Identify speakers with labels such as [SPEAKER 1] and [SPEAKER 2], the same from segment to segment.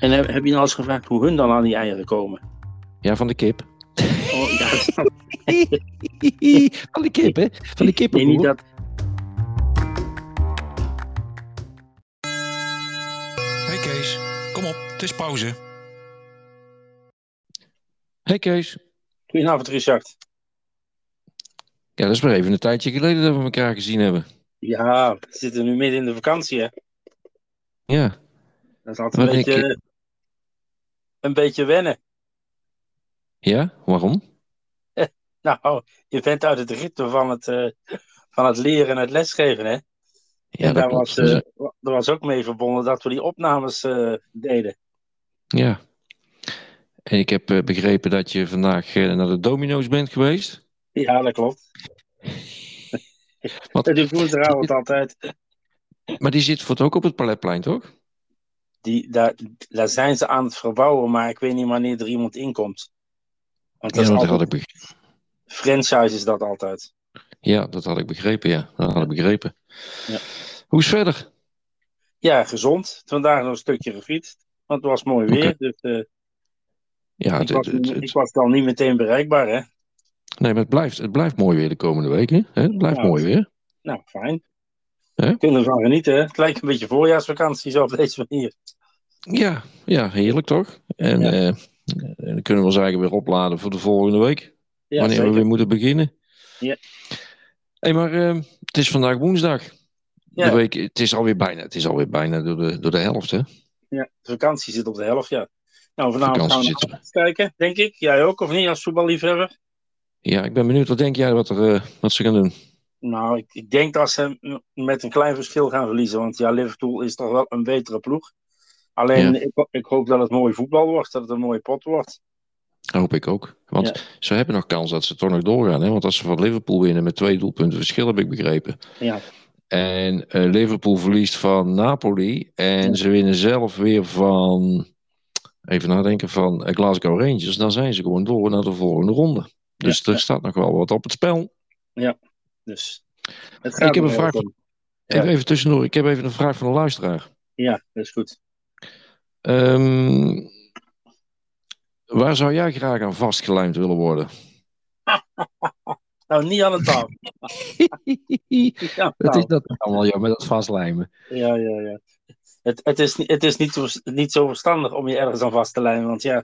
[SPEAKER 1] En heb, heb je nou eens gevraagd hoe hun dan aan die eieren komen?
[SPEAKER 2] Ja, van de kip.
[SPEAKER 1] Oh, ja,
[SPEAKER 2] van de kip, hè? Van de kip.
[SPEAKER 1] nee, niet dat.
[SPEAKER 3] Hey Kees, kom op, het is pauze.
[SPEAKER 2] Hey Kees.
[SPEAKER 1] Goedenavond, Richard.
[SPEAKER 2] Ja, dat is maar even een tijdje geleden dat we elkaar gezien hebben.
[SPEAKER 1] Ja, we zitten nu midden in de vakantie, hè?
[SPEAKER 2] Ja.
[SPEAKER 1] Dat is altijd een
[SPEAKER 2] Wat denk
[SPEAKER 1] beetje, een beetje wennen.
[SPEAKER 2] Ja? Waarom?
[SPEAKER 1] Nou, je bent uit het ritme van het, eh, van het leren en het lesgeven, hè?
[SPEAKER 2] Ja,
[SPEAKER 1] en
[SPEAKER 2] dat
[SPEAKER 1] daar
[SPEAKER 2] klopt. Dus-
[SPEAKER 1] was,
[SPEAKER 2] Dat
[SPEAKER 1] eh,
[SPEAKER 2] is-
[SPEAKER 1] wa- daar was ook mee verbonden dat we die opnames eh, deden.
[SPEAKER 2] Ja. En ik heb eh, begrepen dat je vandaag eh, naar de domino's bent geweest.
[SPEAKER 1] Ja, dat klopt.
[SPEAKER 2] Wat-
[SPEAKER 1] Dat doe ik woensdagavond altijd.
[SPEAKER 2] Maar die zit voor het ook op het paletplein, toch?
[SPEAKER 1] Die, daar, daar zijn ze aan het verbouwen, maar ik weet niet wanneer er iemand inkomt. Want
[SPEAKER 2] Ja,
[SPEAKER 1] dat is
[SPEAKER 2] dat
[SPEAKER 1] altijd,
[SPEAKER 2] had ik begrepen.
[SPEAKER 1] franchise is dat altijd.
[SPEAKER 2] Ja, dat had ik begrepen, ja. Dat had ik begrepen.
[SPEAKER 1] Ja.
[SPEAKER 2] Hoe is het verder?
[SPEAKER 1] Ja, gezond. Vandaag nog een stukje gefietst, want het was mooi
[SPEAKER 2] Oké.
[SPEAKER 1] weer. Dus eh,
[SPEAKER 2] Ja,
[SPEAKER 1] ik,
[SPEAKER 2] het,
[SPEAKER 1] was,
[SPEAKER 2] het, het-
[SPEAKER 1] ik
[SPEAKER 2] het-
[SPEAKER 1] was dan niet meteen bereikbaar, hè?
[SPEAKER 2] nee, maar het, blijft, het blijft mooi weer de komende weken. Hè? Het blijft
[SPEAKER 1] Ja.
[SPEAKER 2] mooi weer.
[SPEAKER 1] Nou, fijn.
[SPEAKER 2] Hè?
[SPEAKER 1] Kunnen we van genieten, hè? Het lijkt een beetje voorjaarsvakantie zo op deze manier.
[SPEAKER 2] Ja, ja heerlijk toch? En
[SPEAKER 1] Ja.
[SPEAKER 2] eh, eh, dan kunnen we ons eigenlijk weer opladen voor de volgende week.
[SPEAKER 1] Ja,
[SPEAKER 2] wanneer
[SPEAKER 1] zeker.
[SPEAKER 2] we weer moeten beginnen.
[SPEAKER 1] Ja.
[SPEAKER 2] Hé, maar eh, het is vandaag woensdag.
[SPEAKER 1] Ja. Nou,
[SPEAKER 2] De week, het is alweer bijna, het is alweer bijna door de, door de helft, hè?
[SPEAKER 1] Ja, de vakantie zit op de helft, ja. Nou, vanavond
[SPEAKER 2] Vakantie
[SPEAKER 1] gaan we
[SPEAKER 2] zit
[SPEAKER 1] naar Ajax kijken, denk ik. Jij ook, of niet, als voetballiefhebber?
[SPEAKER 2] Ja, ik ben benieuwd, wat denk jij wat, er, eh, wat ze gaan doen?
[SPEAKER 1] Nou, ik, ik denk dat ze m- met een klein verschil gaan verliezen. Want ja, Liverpool is toch wel een betere ploeg. Alleen, ik, ho- ik hoop dat het mooi voetbal wordt, dat het een mooie pot wordt.
[SPEAKER 2] Dat hoop ik ook. Want
[SPEAKER 1] Ja.
[SPEAKER 2] ze hebben nog kans dat ze toch nog doorgaan, hè? Want als ze van Liverpool winnen met twee doelpunten verschil, heb ik begrepen.
[SPEAKER 1] Ja.
[SPEAKER 2] En eh, Liverpool verliest van Napoli. En
[SPEAKER 1] Ja.
[SPEAKER 2] ze winnen zelf weer van, even nadenken, van eh, Glasgow Rangers. Dan zijn ze gewoon door naar de volgende ronde. Dus er staat nog wel wat op het spel.
[SPEAKER 1] Dus, het gaat
[SPEAKER 2] Ik heb
[SPEAKER 1] er
[SPEAKER 2] een
[SPEAKER 1] wel
[SPEAKER 2] vraag.
[SPEAKER 1] om. Ja.
[SPEAKER 2] Even, even tussendoor, ik heb even een vraag van een luisteraar.
[SPEAKER 1] Ja, dat is goed.
[SPEAKER 2] Ehm, waar zou jij graag aan vastgelijmd willen worden?
[SPEAKER 1] Nou, niet aan de tafel. Ja,
[SPEAKER 2] Het
[SPEAKER 1] nou.
[SPEAKER 2] is dat allemaal, ja, met dat vastlijmen.
[SPEAKER 1] Ja, ja, ja. Het, het is, ni- het is niet, zo, niet zo verstandig om je ergens aan vast te lijmen, want ja,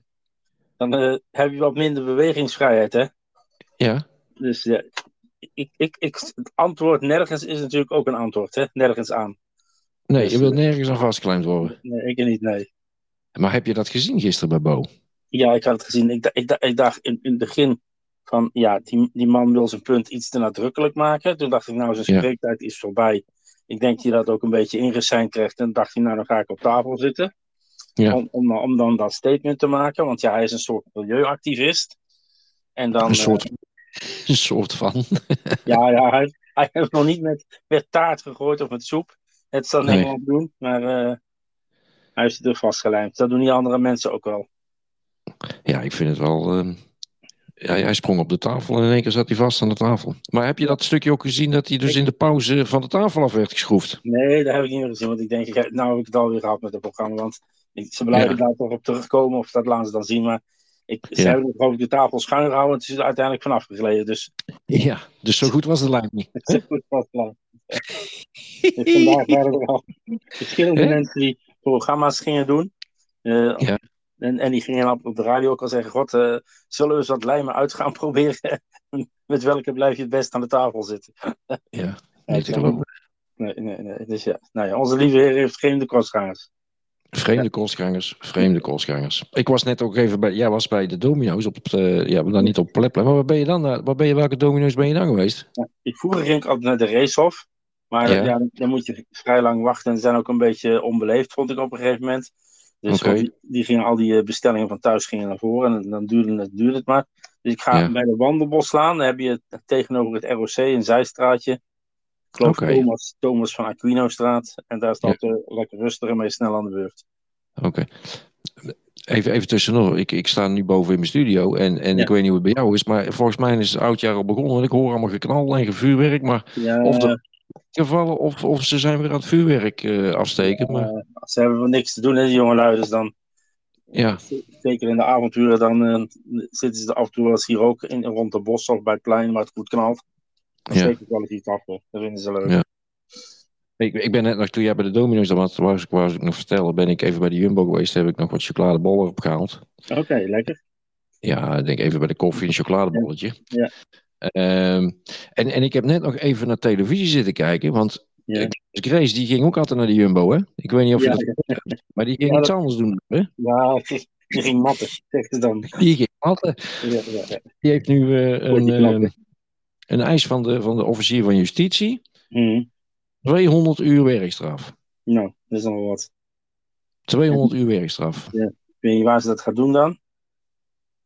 [SPEAKER 1] dan eh, heb je wat minder bewegingsvrijheid, hè?
[SPEAKER 2] Ja,
[SPEAKER 1] Dus ja, ik, ik, ik, het antwoord nergens is natuurlijk ook een antwoord, hè? Nergens aan.
[SPEAKER 2] nee,
[SPEAKER 1] Dus,
[SPEAKER 2] je wilt
[SPEAKER 1] eh,
[SPEAKER 2] nergens aan vastgelijmd worden.
[SPEAKER 1] Nee, ik niet, nee.
[SPEAKER 2] Maar heb je dat gezien gisteren bij Bo?
[SPEAKER 1] Ja, ik had het gezien. Ik, da- ik, da- ik dacht in, in het begin van, ja, die, die man wil zijn punt iets te nadrukkelijk maken. Toen dacht ik, nou, zijn
[SPEAKER 2] Ja.
[SPEAKER 1] spreektijd is voorbij. Ik denk dat je dat ook een beetje ingeseind krijgt. En dacht hij, nou, dan ga ik op tafel zitten.
[SPEAKER 2] Ja.
[SPEAKER 1] Om, om, om dan dat statement te maken. Want ja, hij is een soort milieuactivist. En dan,
[SPEAKER 2] een, soort, een soort van.
[SPEAKER 1] eh, ja, ja, hij, hij heeft nog niet met, met taart gegooid of met soep. Het zal
[SPEAKER 2] Nee.
[SPEAKER 1] Nederland doen, maar eh, hij is er vastgelijmd. Dat doen die andere mensen ook wel.
[SPEAKER 2] Ja, ik vind het wel. ehm, ja, hij sprong op de tafel en in één keer zat hij vast aan de tafel. Maar heb je dat stukje ook gezien dat hij dus in de pauze van de tafel af werd geschroefd?
[SPEAKER 1] Nee, dat heb ik niet meer gezien. Want ik denk, ik heb, nou heb ik het alweer gehad met het programma. Want ik, ze blijven daar toch op terugkomen. Of dat laten ze dan zien. Maar ik, ze
[SPEAKER 2] Ja.
[SPEAKER 1] hebben het over de tafel schuin gehouden. Het is er uiteindelijk vanaf gegleden. Dus
[SPEAKER 2] Ja, dus zo goed was de lijn niet.
[SPEAKER 1] het is goed vast plan. Dus vandaag waren er al verschillende
[SPEAKER 2] Hè?
[SPEAKER 1] mensen die programma's gingen doen. Eh,
[SPEAKER 2] Ja.
[SPEAKER 1] en, en die gingen dan op de radio ook al zeggen... God, eh, zullen we eens wat lijmen uit gaan proberen? met welke blijf je het best aan de tafel zitten?
[SPEAKER 2] Ja,
[SPEAKER 1] Ja,
[SPEAKER 2] niet te geloven.
[SPEAKER 1] Nee, nee, nee. Dus ja. Nou ja, onze lieve heer heeft geen de kostgangers.
[SPEAKER 2] Vreemde kostgangers, vreemde kostgangers. Ik was net ook even bij, jij was bij de domino's op het, eh, ja, maar dan niet op het Pleplein. Maar waar ben je dan, naar- waar ben je, welke domino's ben je dan geweest?
[SPEAKER 1] Ik vroeger ging ik altijd naar de racehof. Maar
[SPEAKER 2] Ja.
[SPEAKER 1] ja. dan moet je vrij lang wachten. En ze zijn ook een beetje onbeleefd, vond ik op een gegeven moment. Dus
[SPEAKER 2] Oké.
[SPEAKER 1] want die, die gingen, al die eh, bestellingen van thuis gingen naar voren. En dan duurde het, duurde het maar. Dus ik ga
[SPEAKER 2] Ja.
[SPEAKER 1] bij de Wandelboslaan. Dan heb je het tegenover het ROC een zijstraatje. Ik geloof
[SPEAKER 2] Oké.
[SPEAKER 1] Thomas, Thomas van Aquinostraat. En daar
[SPEAKER 2] Ja.
[SPEAKER 1] staat eh lekker rustig en mee snel aan de beurt.
[SPEAKER 2] Oké. Even, even tussendoor, ik, ik sta nu boven in mijn studio en, en
[SPEAKER 1] Ja.
[SPEAKER 2] ik weet niet hoe het bij jou is, maar volgens mij is het oudjaar al begonnen. en Ik hoor allemaal geknal en gevuurwerk, maar
[SPEAKER 1] Ja,
[SPEAKER 2] Of de- gevallen of, of ze zijn weer aan het vuurwerk eh, afsteken. Maar
[SPEAKER 1] ze hebben wel niks te doen, hè, die jongelui. Dus dan
[SPEAKER 2] Ja,
[SPEAKER 1] Zeker in de avonturen, dan eh, zitten ze af en toe wel eens hier ook in, rond de bos of bij het plein waar het goed knalt. Dan
[SPEAKER 2] Ja.
[SPEAKER 1] steken ze wel eens iets af. hoor. Dat vinden ze leuk.
[SPEAKER 2] Ja. ik, ik ben net nog, toen jij bij de Domino's dan was, was, ik- was ik nog vertellen, ben ik even bij de Jumbo geweest, heb ik nog wat chocoladebollen opgehaald.
[SPEAKER 1] Oké, lekker.
[SPEAKER 2] Ja, ik denk even bij de koffie een chocoladebolletje.
[SPEAKER 1] Ja.
[SPEAKER 2] Ehm, en, en ik heb net nog even naar televisie zitten kijken, want
[SPEAKER 1] Ja.
[SPEAKER 2] Grace die ging ook altijd naar de Jumbo, hè? Ik weet niet of je
[SPEAKER 1] Ja,
[SPEAKER 2] dat... Maar die ging
[SPEAKER 1] Ja,
[SPEAKER 2] iets anders doen, hè?
[SPEAKER 1] Ja, het je ging matten, zegt ze dan.
[SPEAKER 2] Die ging altijd
[SPEAKER 1] Ja, ja, ja.
[SPEAKER 2] Die heeft nu eh, een,
[SPEAKER 1] die knappen.
[SPEAKER 2] eh, een eis van de, van de officier van justitie.
[SPEAKER 1] Mhm.
[SPEAKER 2] 200 uur werkstraf.
[SPEAKER 1] Nou, dat is nog wel wat.
[SPEAKER 2] 200 uur werkstraf.
[SPEAKER 1] Ik weet niet waar ze dat gaat doen dan.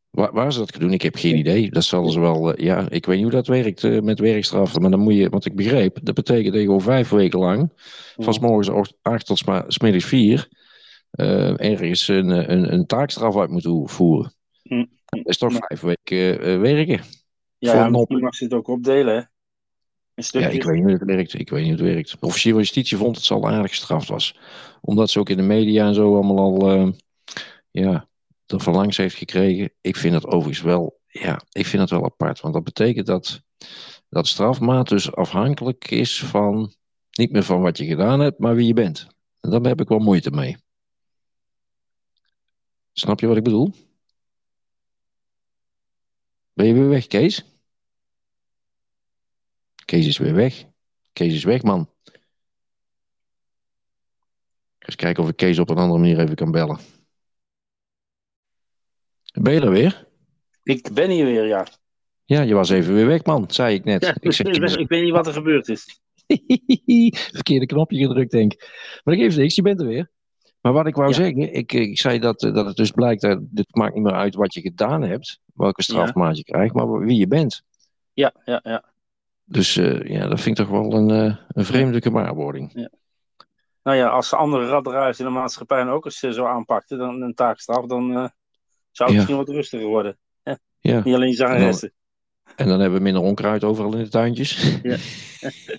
[SPEAKER 2] Waar, waar ze dat gaan doen, ik heb geen idee. Dat zal ze wel... eh, ja, ik weet niet hoe dat werkt eh, met werkstraffen. Maar dan moet je... Want ik begreep, dat betekent dat je gewoon vijf weken lang... Van 's morgens och- acht tot 's middags vier... eh, ergens een, eh, een, een taakstraf uit moet voeren.
[SPEAKER 1] Hm.
[SPEAKER 2] Dat is toch
[SPEAKER 1] Ja.
[SPEAKER 2] vijf weken eh, werken.
[SPEAKER 1] Ja,
[SPEAKER 2] Voor
[SPEAKER 1] ja
[SPEAKER 2] een
[SPEAKER 1] misschien
[SPEAKER 2] op-
[SPEAKER 1] mag ze het ook opdelen, hè? Een
[SPEAKER 2] Ja,
[SPEAKER 1] stukje.
[SPEAKER 2] ik weet niet hoe het werkt. Ik weet niet hoe het werkt. De officier van justitie vond dat ze al aardig gestraft was. Omdat ze ook in de media en zo allemaal al eh, ja, er van langs heeft gekregen. Ik vind dat overigens wel, ja, ik vind dat wel apart. Want dat betekent dat, dat strafmaat dus afhankelijk is van niet meer van wat je gedaan hebt, maar wie je bent. En daar heb ik wel moeite mee. Snap je wat ik bedoel? Ben je weer weg, Kees? Kees is weer weg. Kees is weg, man. Eens kijken of ik Kees op een andere manier even kan bellen. Ben je er weer?
[SPEAKER 1] Ik ben hier weer, ja.
[SPEAKER 2] Ja, je was even weer weg, man, zei ik net.
[SPEAKER 1] ja
[SPEAKER 2] ik zeg,
[SPEAKER 1] ik, weet, ik weet niet wat er gebeurd is.
[SPEAKER 2] verkeerde knopje gedrukt, denk ik. Maar dat geeft niks, je bent er weer. Maar wat ik wou
[SPEAKER 1] Ja.
[SPEAKER 2] zeggen, ik, ik zei dat, eh, dat het dus blijkt, dat dit maakt niet meer uit wat je gedaan hebt, welke strafmaat je krijgt, maar wie je bent.
[SPEAKER 1] Ja, ja, ja.
[SPEAKER 2] Dus eh, ja, dat vind ik toch wel een, eh, een vreemde gewaarwording.
[SPEAKER 1] Nou ja, als ze andere raddraaiers in de maatschappij en ook eens eh, zo aanpakten, dan een taakstraf, dan eh, zou het
[SPEAKER 2] Ja.
[SPEAKER 1] misschien wat rustiger worden. hè?
[SPEAKER 2] Ja.
[SPEAKER 1] Niet alleen zangeressen.
[SPEAKER 2] En dan hebben we minder onkruid overal in de tuintjes.
[SPEAKER 1] Ja.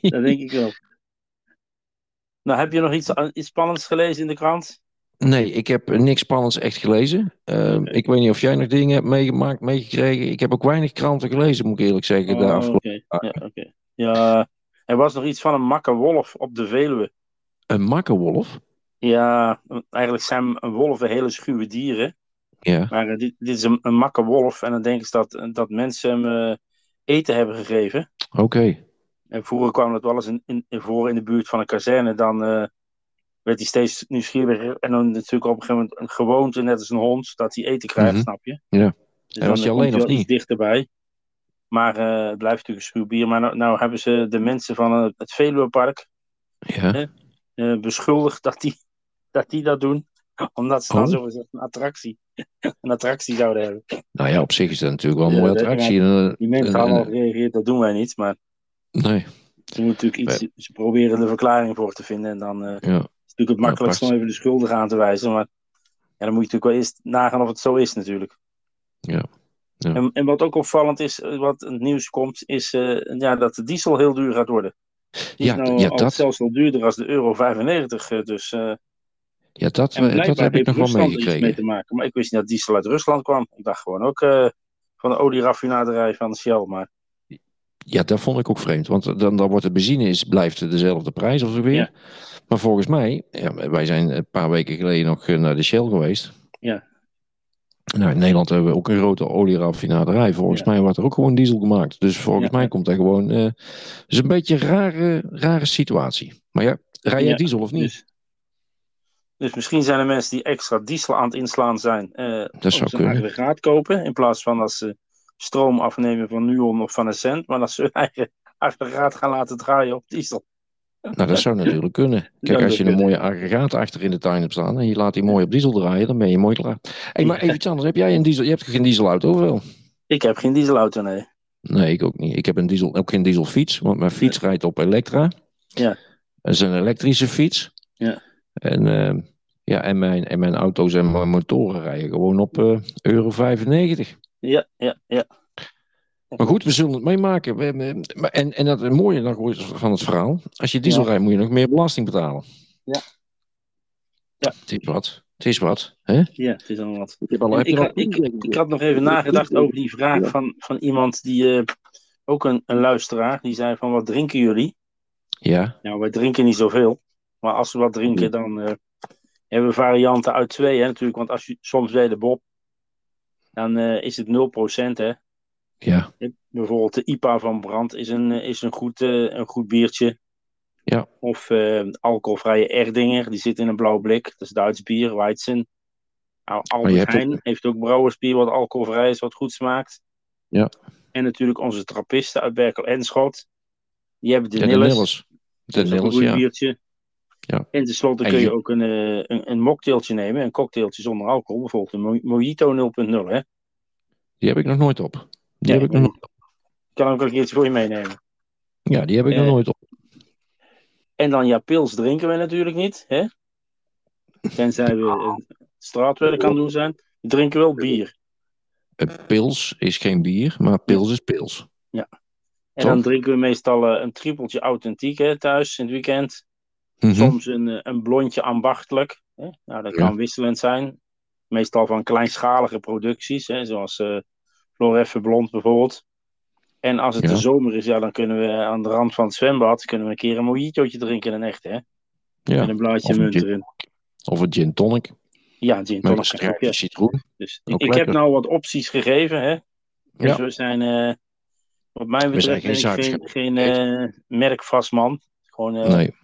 [SPEAKER 1] Dat denk ik wel. Nou, heb je nog iets, iets spannends gelezen in de krant?
[SPEAKER 2] Nee, ik heb niks spannends echt gelezen. Ehm, Ik weet niet of jij nog dingen hebt meegemaakt, meegekregen. Ik heb ook weinig kranten gelezen, moet ik eerlijk zeggen. de
[SPEAKER 1] Oh,
[SPEAKER 2] afgelopen...
[SPEAKER 1] oké. Ja, oké. ja, er was nog iets van een makke wolf op de Veluwe.
[SPEAKER 2] Een makkenwolf?
[SPEAKER 1] Ja, eigenlijk zijn wolven hele schuwe dieren.
[SPEAKER 2] Ja.
[SPEAKER 1] Maar eh, dit, dit is een, een makke wolf. En dan denken ze dat, dat mensen hem eh, eten hebben gegeven.
[SPEAKER 2] Oké.
[SPEAKER 1] En vroeger kwam dat wel eens in, in, voor in de buurt van een kazerne. Dan eh, werd hij steeds nieuwsgieriger. En dan natuurlijk op een gegeven moment een gewoonte, net als een hond, dat hij eten krijgt,
[SPEAKER 2] Mhm.
[SPEAKER 1] snap je?
[SPEAKER 2] Ja.
[SPEAKER 1] Dus
[SPEAKER 2] En was
[SPEAKER 1] dan
[SPEAKER 2] hij alleen
[SPEAKER 1] komt
[SPEAKER 2] of
[SPEAKER 1] wel
[SPEAKER 2] niet?
[SPEAKER 1] iets dichterbij. Maar eh, het blijft natuurlijk een schuw bier. Maar nou, nou hebben ze de mensen van eh, het Veluwepark
[SPEAKER 2] Ja.
[SPEAKER 1] eh, beschuldigd dat die, dat die dat doen. Omdat ze
[SPEAKER 2] Oh.
[SPEAKER 1] dan zogezegd een attractie, een attractie zouden hebben.
[SPEAKER 2] Nou ja, op zich is dat natuurlijk wel een
[SPEAKER 1] Ja,
[SPEAKER 2] mooie
[SPEAKER 1] dat-
[SPEAKER 2] attractie. En,
[SPEAKER 1] Die mensen
[SPEAKER 2] En-
[SPEAKER 1] hadden
[SPEAKER 2] en-
[SPEAKER 1] al gereageerd, dat doen wij niet. Maar
[SPEAKER 2] eh, nee.
[SPEAKER 1] ze moeten natuurlijk iets, ze proberen de verklaring voor te vinden. En dan eh, is het
[SPEAKER 2] Ja.
[SPEAKER 1] natuurlijk het makkelijkst
[SPEAKER 2] prachtig.
[SPEAKER 1] om even de schuldig aan te wijzen. Maar ja, dan moet je natuurlijk wel eerst nagaan of het zo is natuurlijk.
[SPEAKER 2] Ja, ja.
[SPEAKER 1] En, en wat ook opvallend is, eh, wat in het nieuws komt, is eh, ja, dat de diesel heel duur gaat worden. Die
[SPEAKER 2] Ja,
[SPEAKER 1] is nou
[SPEAKER 2] ja,
[SPEAKER 1] al
[SPEAKER 2] dat-
[SPEAKER 1] zelfs al duurder als de euro 95. eh, dus, eh,
[SPEAKER 2] ja, dat,
[SPEAKER 1] en
[SPEAKER 2] eh, dat
[SPEAKER 1] blijkbaar
[SPEAKER 2] heb
[SPEAKER 1] heeft
[SPEAKER 2] ik nog wel
[SPEAKER 1] Rusland er iets mee
[SPEAKER 2] meegekregen.
[SPEAKER 1] te maken. Maar ik wist niet dat diesel uit Rusland kwam. Ik dacht gewoon ook eh, van de olieraffinaderij van Shell. Maar
[SPEAKER 2] Ja, dat vond ik ook vreemd. Want dan, dan wordt de benzine is, blijft dezelfde prijs of zo weer.
[SPEAKER 1] Ja.
[SPEAKER 2] Maar volgens mij, ja, wij zijn een paar weken geleden nog eh, naar de Shell geweest.
[SPEAKER 1] Ja.
[SPEAKER 2] Nou, in Nederland hebben we ook een grote olieraffinaderij. Volgens mij wordt er ook gewoon diesel gemaakt. Dus volgens
[SPEAKER 1] Ja.
[SPEAKER 2] mij komt daar gewoon... eh, Het is een beetje een rare, rare situatie. Maar ja, rij jij
[SPEAKER 1] Ja,
[SPEAKER 2] diesel of niet?
[SPEAKER 1] dus- Dus misschien zijn er mensen die extra diesel aan het inslaan zijn. eh
[SPEAKER 2] dat
[SPEAKER 1] om
[SPEAKER 2] zou
[SPEAKER 1] ze een
[SPEAKER 2] kunnen.
[SPEAKER 1] aggregaat kopen. In plaats van dat ze stroom afnemen van Nuon of van een cent. Maar dat ze hun eigen aggregaat gaan laten draaien op diesel.
[SPEAKER 2] Nou, dat zou natuurlijk kunnen. Kijk,
[SPEAKER 1] zou
[SPEAKER 2] als je een
[SPEAKER 1] kunnen.
[SPEAKER 2] mooie aggregaat achter in de tuin hebt staan... en je laat die mooi op diesel draaien, dan ben je mooi klaar. Hé, maar even iets anders. Heb jij een diesel? Je hebt geen dieselauto, of wel?
[SPEAKER 1] Ik heb geen dieselauto, nee.
[SPEAKER 2] Nee, ik ook niet. Ik heb een diesel, ook geen dieselfiets, want mijn fiets rijdt op Elektra.
[SPEAKER 1] Ja.
[SPEAKER 2] Dat is een elektrische fiets.
[SPEAKER 1] Ja.
[SPEAKER 2] En, ehm, ja, en, mijn, en mijn auto's en mijn motoren rijden gewoon op eh, euro 95.
[SPEAKER 1] Ja, ja, ja.
[SPEAKER 2] Maar goed, we zullen het meemaken. We- we- maar- En, en dat het mooie nog ooit van het verhaal. Als je diesel
[SPEAKER 1] Ja.
[SPEAKER 2] rijdt, moet je nog meer belasting betalen.
[SPEAKER 1] Ja. Ja.
[SPEAKER 2] Het is wat. Het is wat, hè?
[SPEAKER 1] Ja, het is allemaal wat.
[SPEAKER 2] Ik heb al, heb je
[SPEAKER 1] Ik,
[SPEAKER 2] al
[SPEAKER 1] had- ik,
[SPEAKER 2] punten?
[SPEAKER 1] ik had nog even nagedacht over die vraag
[SPEAKER 2] Ja.
[SPEAKER 1] van, van iemand die, eh, ook een, een luisteraar, die zei van wat drinken jullie?
[SPEAKER 2] Ja,
[SPEAKER 1] Nou, wij drinken niet zoveel. Maar als we wat
[SPEAKER 2] Hmm.
[SPEAKER 1] drinken, dan eh, hebben we varianten uit twee, hè, natuurlijk. Want als je soms weet de Bob, dan eh, is het 0%, hè.
[SPEAKER 2] ja,
[SPEAKER 1] Bijvoorbeeld de IPA van Brand is een, eh, is een, goed, eh, een goed biertje.
[SPEAKER 2] Ja.
[SPEAKER 1] Of eh, alcoholvrije Erdinger, die zit in een blauw blik. Dat is Duits bier, Weizen. Al-
[SPEAKER 2] je
[SPEAKER 1] Albert
[SPEAKER 2] hebt ook-
[SPEAKER 1] Heijn heeft ook brouwersbier wat alcoholvrij is, wat goed smaakt.
[SPEAKER 2] Ja.
[SPEAKER 1] En natuurlijk onze trappisten uit Berkel en Schot. Die hebben de
[SPEAKER 2] ja. De
[SPEAKER 1] Nilles.
[SPEAKER 2] Nilles. De
[SPEAKER 1] Dat is ook een
[SPEAKER 2] Nilles,
[SPEAKER 1] goed
[SPEAKER 2] ja.
[SPEAKER 1] biertje.
[SPEAKER 2] Ja.
[SPEAKER 1] En tenslotte
[SPEAKER 2] En
[SPEAKER 1] kun je
[SPEAKER 2] je-
[SPEAKER 1] ook een, eh, een, een mocktailtje nemen, een cocktailtje zonder alcohol. Bijvoorbeeld een mo- Mojito 0.0. Hè?
[SPEAKER 2] Die heb ik nog nooit op. Die
[SPEAKER 1] Nee,
[SPEAKER 2] heb ik nog nooit op.
[SPEAKER 1] Kan ook een keertje voor je meenemen.
[SPEAKER 2] Ja, die heb ik nog
[SPEAKER 1] Eh,
[SPEAKER 2] nooit op.
[SPEAKER 1] En dan ja, pils drinken we natuurlijk niet. Hè? Tenzij we een straatwerk aan het doen zijn. We drinken wel bier.
[SPEAKER 2] Een Eh, pils is geen bier, maar pils is pils.
[SPEAKER 1] En dan
[SPEAKER 2] Toch?
[SPEAKER 1] drinken we meestal eh, een trippeltje authentiek hè, thuis in het weekend.
[SPEAKER 2] Mhm.
[SPEAKER 1] Soms een, eh, een blondje ambachtelijk. Hè? Nou, dat
[SPEAKER 2] Ja.
[SPEAKER 1] kan wisselend zijn. Meestal van kleinschalige producties, hè, zoals eh Floreffe Blond bijvoorbeeld. En als het
[SPEAKER 2] Ja.
[SPEAKER 1] de zomer is, ja, dan kunnen we aan de rand van het zwembad kunnen we een keer een mojitootje drinken, een echte, hè? Met
[SPEAKER 2] Ja.
[SPEAKER 1] een blaadje
[SPEAKER 2] Of een
[SPEAKER 1] munt
[SPEAKER 2] gin-
[SPEAKER 1] erin.
[SPEAKER 2] Of een gin tonic
[SPEAKER 1] Ja, gin
[SPEAKER 2] met een
[SPEAKER 1] tonic. ook,
[SPEAKER 2] schrijfje
[SPEAKER 1] ja.
[SPEAKER 2] citroen.
[SPEAKER 1] Dus
[SPEAKER 2] Ook
[SPEAKER 1] ik heb
[SPEAKER 2] lekker.
[SPEAKER 1] nou wat opties gegeven. Hè? Dus
[SPEAKER 2] Ja.
[SPEAKER 1] we zijn, eh, wat mij
[SPEAKER 2] zijn
[SPEAKER 1] betreft,
[SPEAKER 2] geen
[SPEAKER 1] ben ik geen,
[SPEAKER 2] zaakjes-
[SPEAKER 1] geen eh, merkvast man. Gewoon eh,
[SPEAKER 2] Nee,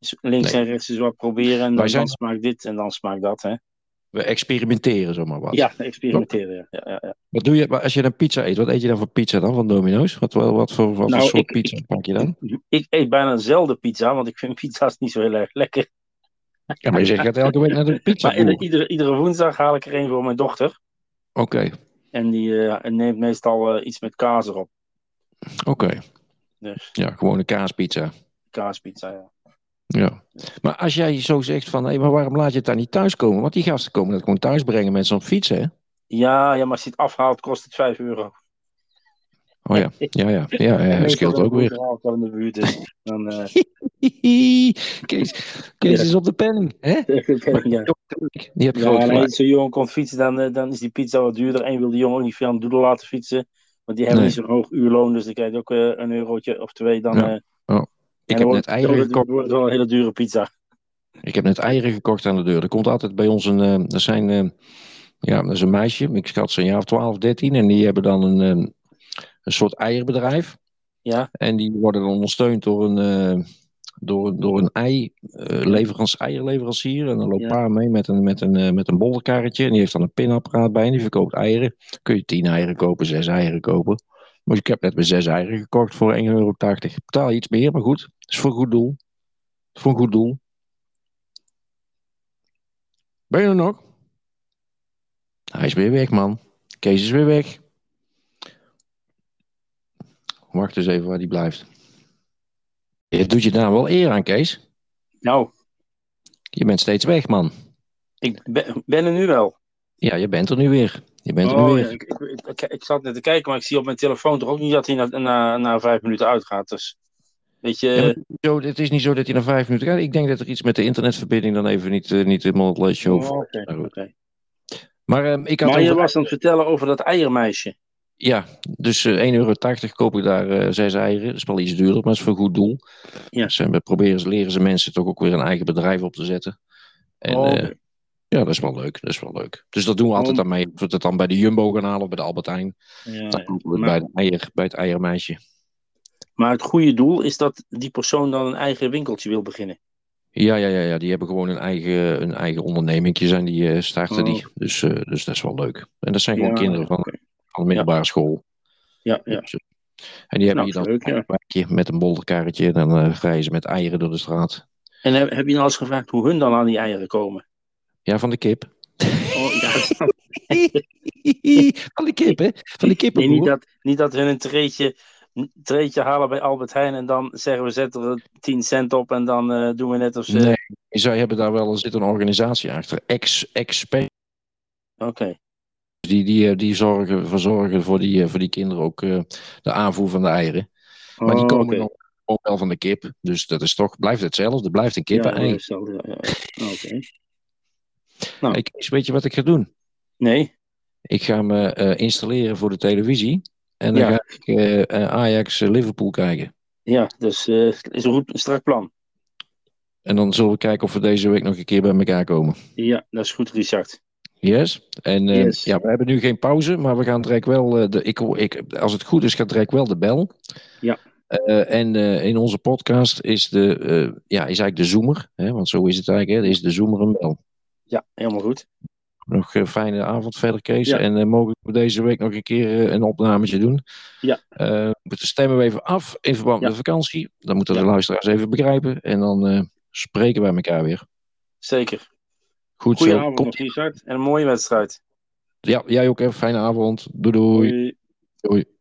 [SPEAKER 1] s- links
[SPEAKER 2] Nee.
[SPEAKER 1] en rechts eens wat proberen. En
[SPEAKER 2] Wij
[SPEAKER 1] dan,
[SPEAKER 2] zijn-
[SPEAKER 1] smaakt dit en dan smaakt dat. Hè?
[SPEAKER 2] we experimenteren zomaar wat.
[SPEAKER 1] Ja, experimenteren. Ja. Ja, ja, ja.
[SPEAKER 2] Wat doe je maar als je dan pizza eet? Wat eet je dan voor pizza dan van Domino's? Wat, wat, wat voor, wat
[SPEAKER 1] Nou,
[SPEAKER 2] voor soort
[SPEAKER 1] ik-
[SPEAKER 2] pizza pak je dan?
[SPEAKER 1] Ik eet bijna zelden pizza, want ik vind pizza's niet zo heel erg lekker.
[SPEAKER 2] Ja, maar je zegt gaat elke week naar de pizza.
[SPEAKER 1] Maar ieder-
[SPEAKER 2] Oké,
[SPEAKER 1] iedere, iedere woensdag haal ik er een voor mijn dochter. En die eh, neemt meestal eh, iets met kaas erop.
[SPEAKER 2] oké.
[SPEAKER 1] Dus
[SPEAKER 2] Ja, gewoon een kaaspizza.
[SPEAKER 1] kaaspizza, ja.
[SPEAKER 2] Ja. Maar als jij zo zegt van, hé, maar waarom laat je het dan niet thuiskomen? Want die gasten komen dat gewoon thuisbrengen met zo'n fiets, hè?
[SPEAKER 1] Ja, ja, maar als je het afhaalt, kost het 5 euro.
[SPEAKER 2] Oh ja, ja, ja. Ja, ja dat scheelt ook weer.
[SPEAKER 1] Als het in de buurt is, dan... eh,
[SPEAKER 2] Kees, Kees is op de penning, hè?
[SPEAKER 1] ja.
[SPEAKER 2] Die hebt
[SPEAKER 1] Ja, en
[SPEAKER 2] groot gelijk.
[SPEAKER 1] als zo'n jongen komt fietsen, dan, eh, dan is die pizza wat duurder. En je wil die jongen ook niet veel aan het doelen laten fietsen. Want die hebben
[SPEAKER 2] Nee.
[SPEAKER 1] niet zo'n hoog uurloon, dus dan krijg je ook eh, een eurotje of twee. Dan,
[SPEAKER 2] Ja,
[SPEAKER 1] eh,
[SPEAKER 2] Ik
[SPEAKER 1] en dan
[SPEAKER 2] heb
[SPEAKER 1] wordt-
[SPEAKER 2] net eieren
[SPEAKER 1] dan
[SPEAKER 2] gekocht.
[SPEAKER 1] wordt het wel een hele dure pizza.
[SPEAKER 2] Ik heb net eieren gekocht aan de deur. Er komt altijd bij ons een. eh, Er zijn. eh, ja, dat is een meisje. Ik schat ze een jaar of 12, 13. En die hebben dan een. eh, een soort eierbedrijf.
[SPEAKER 1] Ja.
[SPEAKER 2] En die worden dan ondersteund door een. eh, door, een- door een ei, eh, leverans, eierleverancier. En dan loopt
[SPEAKER 1] Ja.
[SPEAKER 2] pa mee met een, met, een, eh, met een bollenkarretje. En die heeft dan een pinapparaat bij. En die verkoopt eieren. Kun je tien eieren kopen, zes eieren kopen. Maar ik heb net weer zes eieren gekocht voor 1,80 euro. Betaal je iets meer, maar goed. Het is voor een goed doel. Voor een goed doel. Ben je er nog? Hij is weer weg, man. Kees is weer weg. Wacht eens even waar die blijft. Je doet je daar wel eer aan, Kees.
[SPEAKER 1] Nou,
[SPEAKER 2] Je bent steeds weg, man.
[SPEAKER 1] ik ben, ben er nu wel.
[SPEAKER 2] Ja, je bent er nu weer. Je bent er nu
[SPEAKER 1] Oh, ja,
[SPEAKER 2] weer.
[SPEAKER 1] ik, ik, ik, ik zat net te kijken, maar ik zie op mijn telefoon toch ook niet dat hij na, na, na vijf minuten uitgaat. Dus, weet je,
[SPEAKER 2] Ja, maar Zo, het is niet zo dat hij na vijf minuten gaat. Ik denk dat er iets met de internetverbinding dan even niet, eh, niet helemaal het leesje
[SPEAKER 1] oh,
[SPEAKER 2] over.
[SPEAKER 1] oké,
[SPEAKER 2] Maar goed.
[SPEAKER 1] oké.
[SPEAKER 2] Maar ehm, ik had
[SPEAKER 1] Maar je
[SPEAKER 2] over-
[SPEAKER 1] was aan het vertellen over dat eiermeisje.
[SPEAKER 2] Ja, dus eh, 1,80 euro koop ik daar eh, zes eieren. Dat is wel iets duurder, maar het is voor een goed doel.
[SPEAKER 1] Ja.
[SPEAKER 2] Ze hebben- proberen ze, leren ze mensen toch ook weer een eigen bedrijf op te zetten. En
[SPEAKER 1] Oh,
[SPEAKER 2] eh, ja, dat is wel leuk. Dat is wel leuk. Dus dat doen we altijd aan mee. Of we dat dan bij de Jumbo gaan halen of bij de Albert Heijn.
[SPEAKER 1] ja.
[SPEAKER 2] Dan kopen we het
[SPEAKER 1] maar-
[SPEAKER 2] bij, de eier, bij het eiermeisje.
[SPEAKER 1] Maar het goede doel is dat die persoon dan een eigen winkeltje wil beginnen.
[SPEAKER 2] Ja, ja, ja, ja. Die hebben gewoon een eigen, een eigen ondernemingje zijn die eh, starten
[SPEAKER 1] Oh.
[SPEAKER 2] die. Dus, eh, dus dat is wel leuk. En dat zijn gewoon
[SPEAKER 1] Ja,
[SPEAKER 2] kinderen van, van de middelbare school.
[SPEAKER 1] Ja, ja.
[SPEAKER 2] Dus, eh, en die hebben
[SPEAKER 1] Nou,
[SPEAKER 2] hier dan
[SPEAKER 1] leuk, ja.
[SPEAKER 2] een wijkje met een bolderkarretje. En dan eh rijden ze met eieren door de straat.
[SPEAKER 1] En heb, heb je nou eens gevraagd hoe hun dan aan die eieren komen?
[SPEAKER 2] Ja, van de kip.
[SPEAKER 1] Oh, ja,
[SPEAKER 2] van de kip, hè? Van de kippen.
[SPEAKER 1] nee, niet, dat, niet dat hun een treetje, een treetje halen bij Albert Heijn en dan zeggen we zetten er 10 cent op en dan eh, doen we net of ze...
[SPEAKER 2] Nee, zij hebben daar wel er zit een organisatie achter. Ex, experts
[SPEAKER 1] Oké,
[SPEAKER 2] die, die, eh, die zorgen, verzorgen voor die, eh, voor die kinderen ook eh, de aanvoer van de eieren. Maar die
[SPEAKER 1] Oh,
[SPEAKER 2] komen
[SPEAKER 1] oké.
[SPEAKER 2] dan ook wel van de kip. Dus dat is toch, blijft hetzelfde. Blijft een kip.
[SPEAKER 1] oh, Ja,
[SPEAKER 2] ei.
[SPEAKER 1] ja, zo, ja, ja. Oké. Nou.
[SPEAKER 2] Hey Kees, weet je wat ik ga doen?
[SPEAKER 1] Nee.
[SPEAKER 2] Ik ga me eh, installeren voor de televisie. En dan
[SPEAKER 1] Ja.
[SPEAKER 2] ga ik eh, eh, Ajax eh, Liverpool kijken.
[SPEAKER 1] Ja, dus eh, het is een goed een strak plan.
[SPEAKER 2] En dan zullen we kijken of we deze week nog een keer bij elkaar komen.
[SPEAKER 1] Ja, dat is goed, Richard.
[SPEAKER 2] Yes. En eh,
[SPEAKER 1] Yes.
[SPEAKER 2] ja, we hebben nu geen pauze, maar we gaan direct wel. eh, de, ik, hoor- ik, als het goed is, gaat direct wel de bel.
[SPEAKER 1] Ja.
[SPEAKER 2] Eh, en eh, in onze podcast is, de, eh, ja, is eigenlijk de zoomer, hè, want zo is het eigenlijk, hè, is de zoomer een bel.
[SPEAKER 1] Ja, helemaal goed.
[SPEAKER 2] Nog een fijne avond verder, Kees.
[SPEAKER 1] Ja.
[SPEAKER 2] En eh, mogen we deze week nog een keer eh, een opnametje doen?
[SPEAKER 1] Ja.
[SPEAKER 2] Eh, stemmen we even af in verband
[SPEAKER 1] Ja.
[SPEAKER 2] met vakantie. Dan moeten de
[SPEAKER 1] Ja.
[SPEAKER 2] luisteraars even begrijpen. En dan eh, spreken wij elkaar weer.
[SPEAKER 1] Zeker.
[SPEAKER 2] Goed zo.
[SPEAKER 1] Goedenavond, nog,
[SPEAKER 2] Komt-
[SPEAKER 1] Richard. En een mooie wedstrijd.
[SPEAKER 2] ja, jij ook even. Fijne avond. Doei doei.
[SPEAKER 1] Doei.
[SPEAKER 2] doei.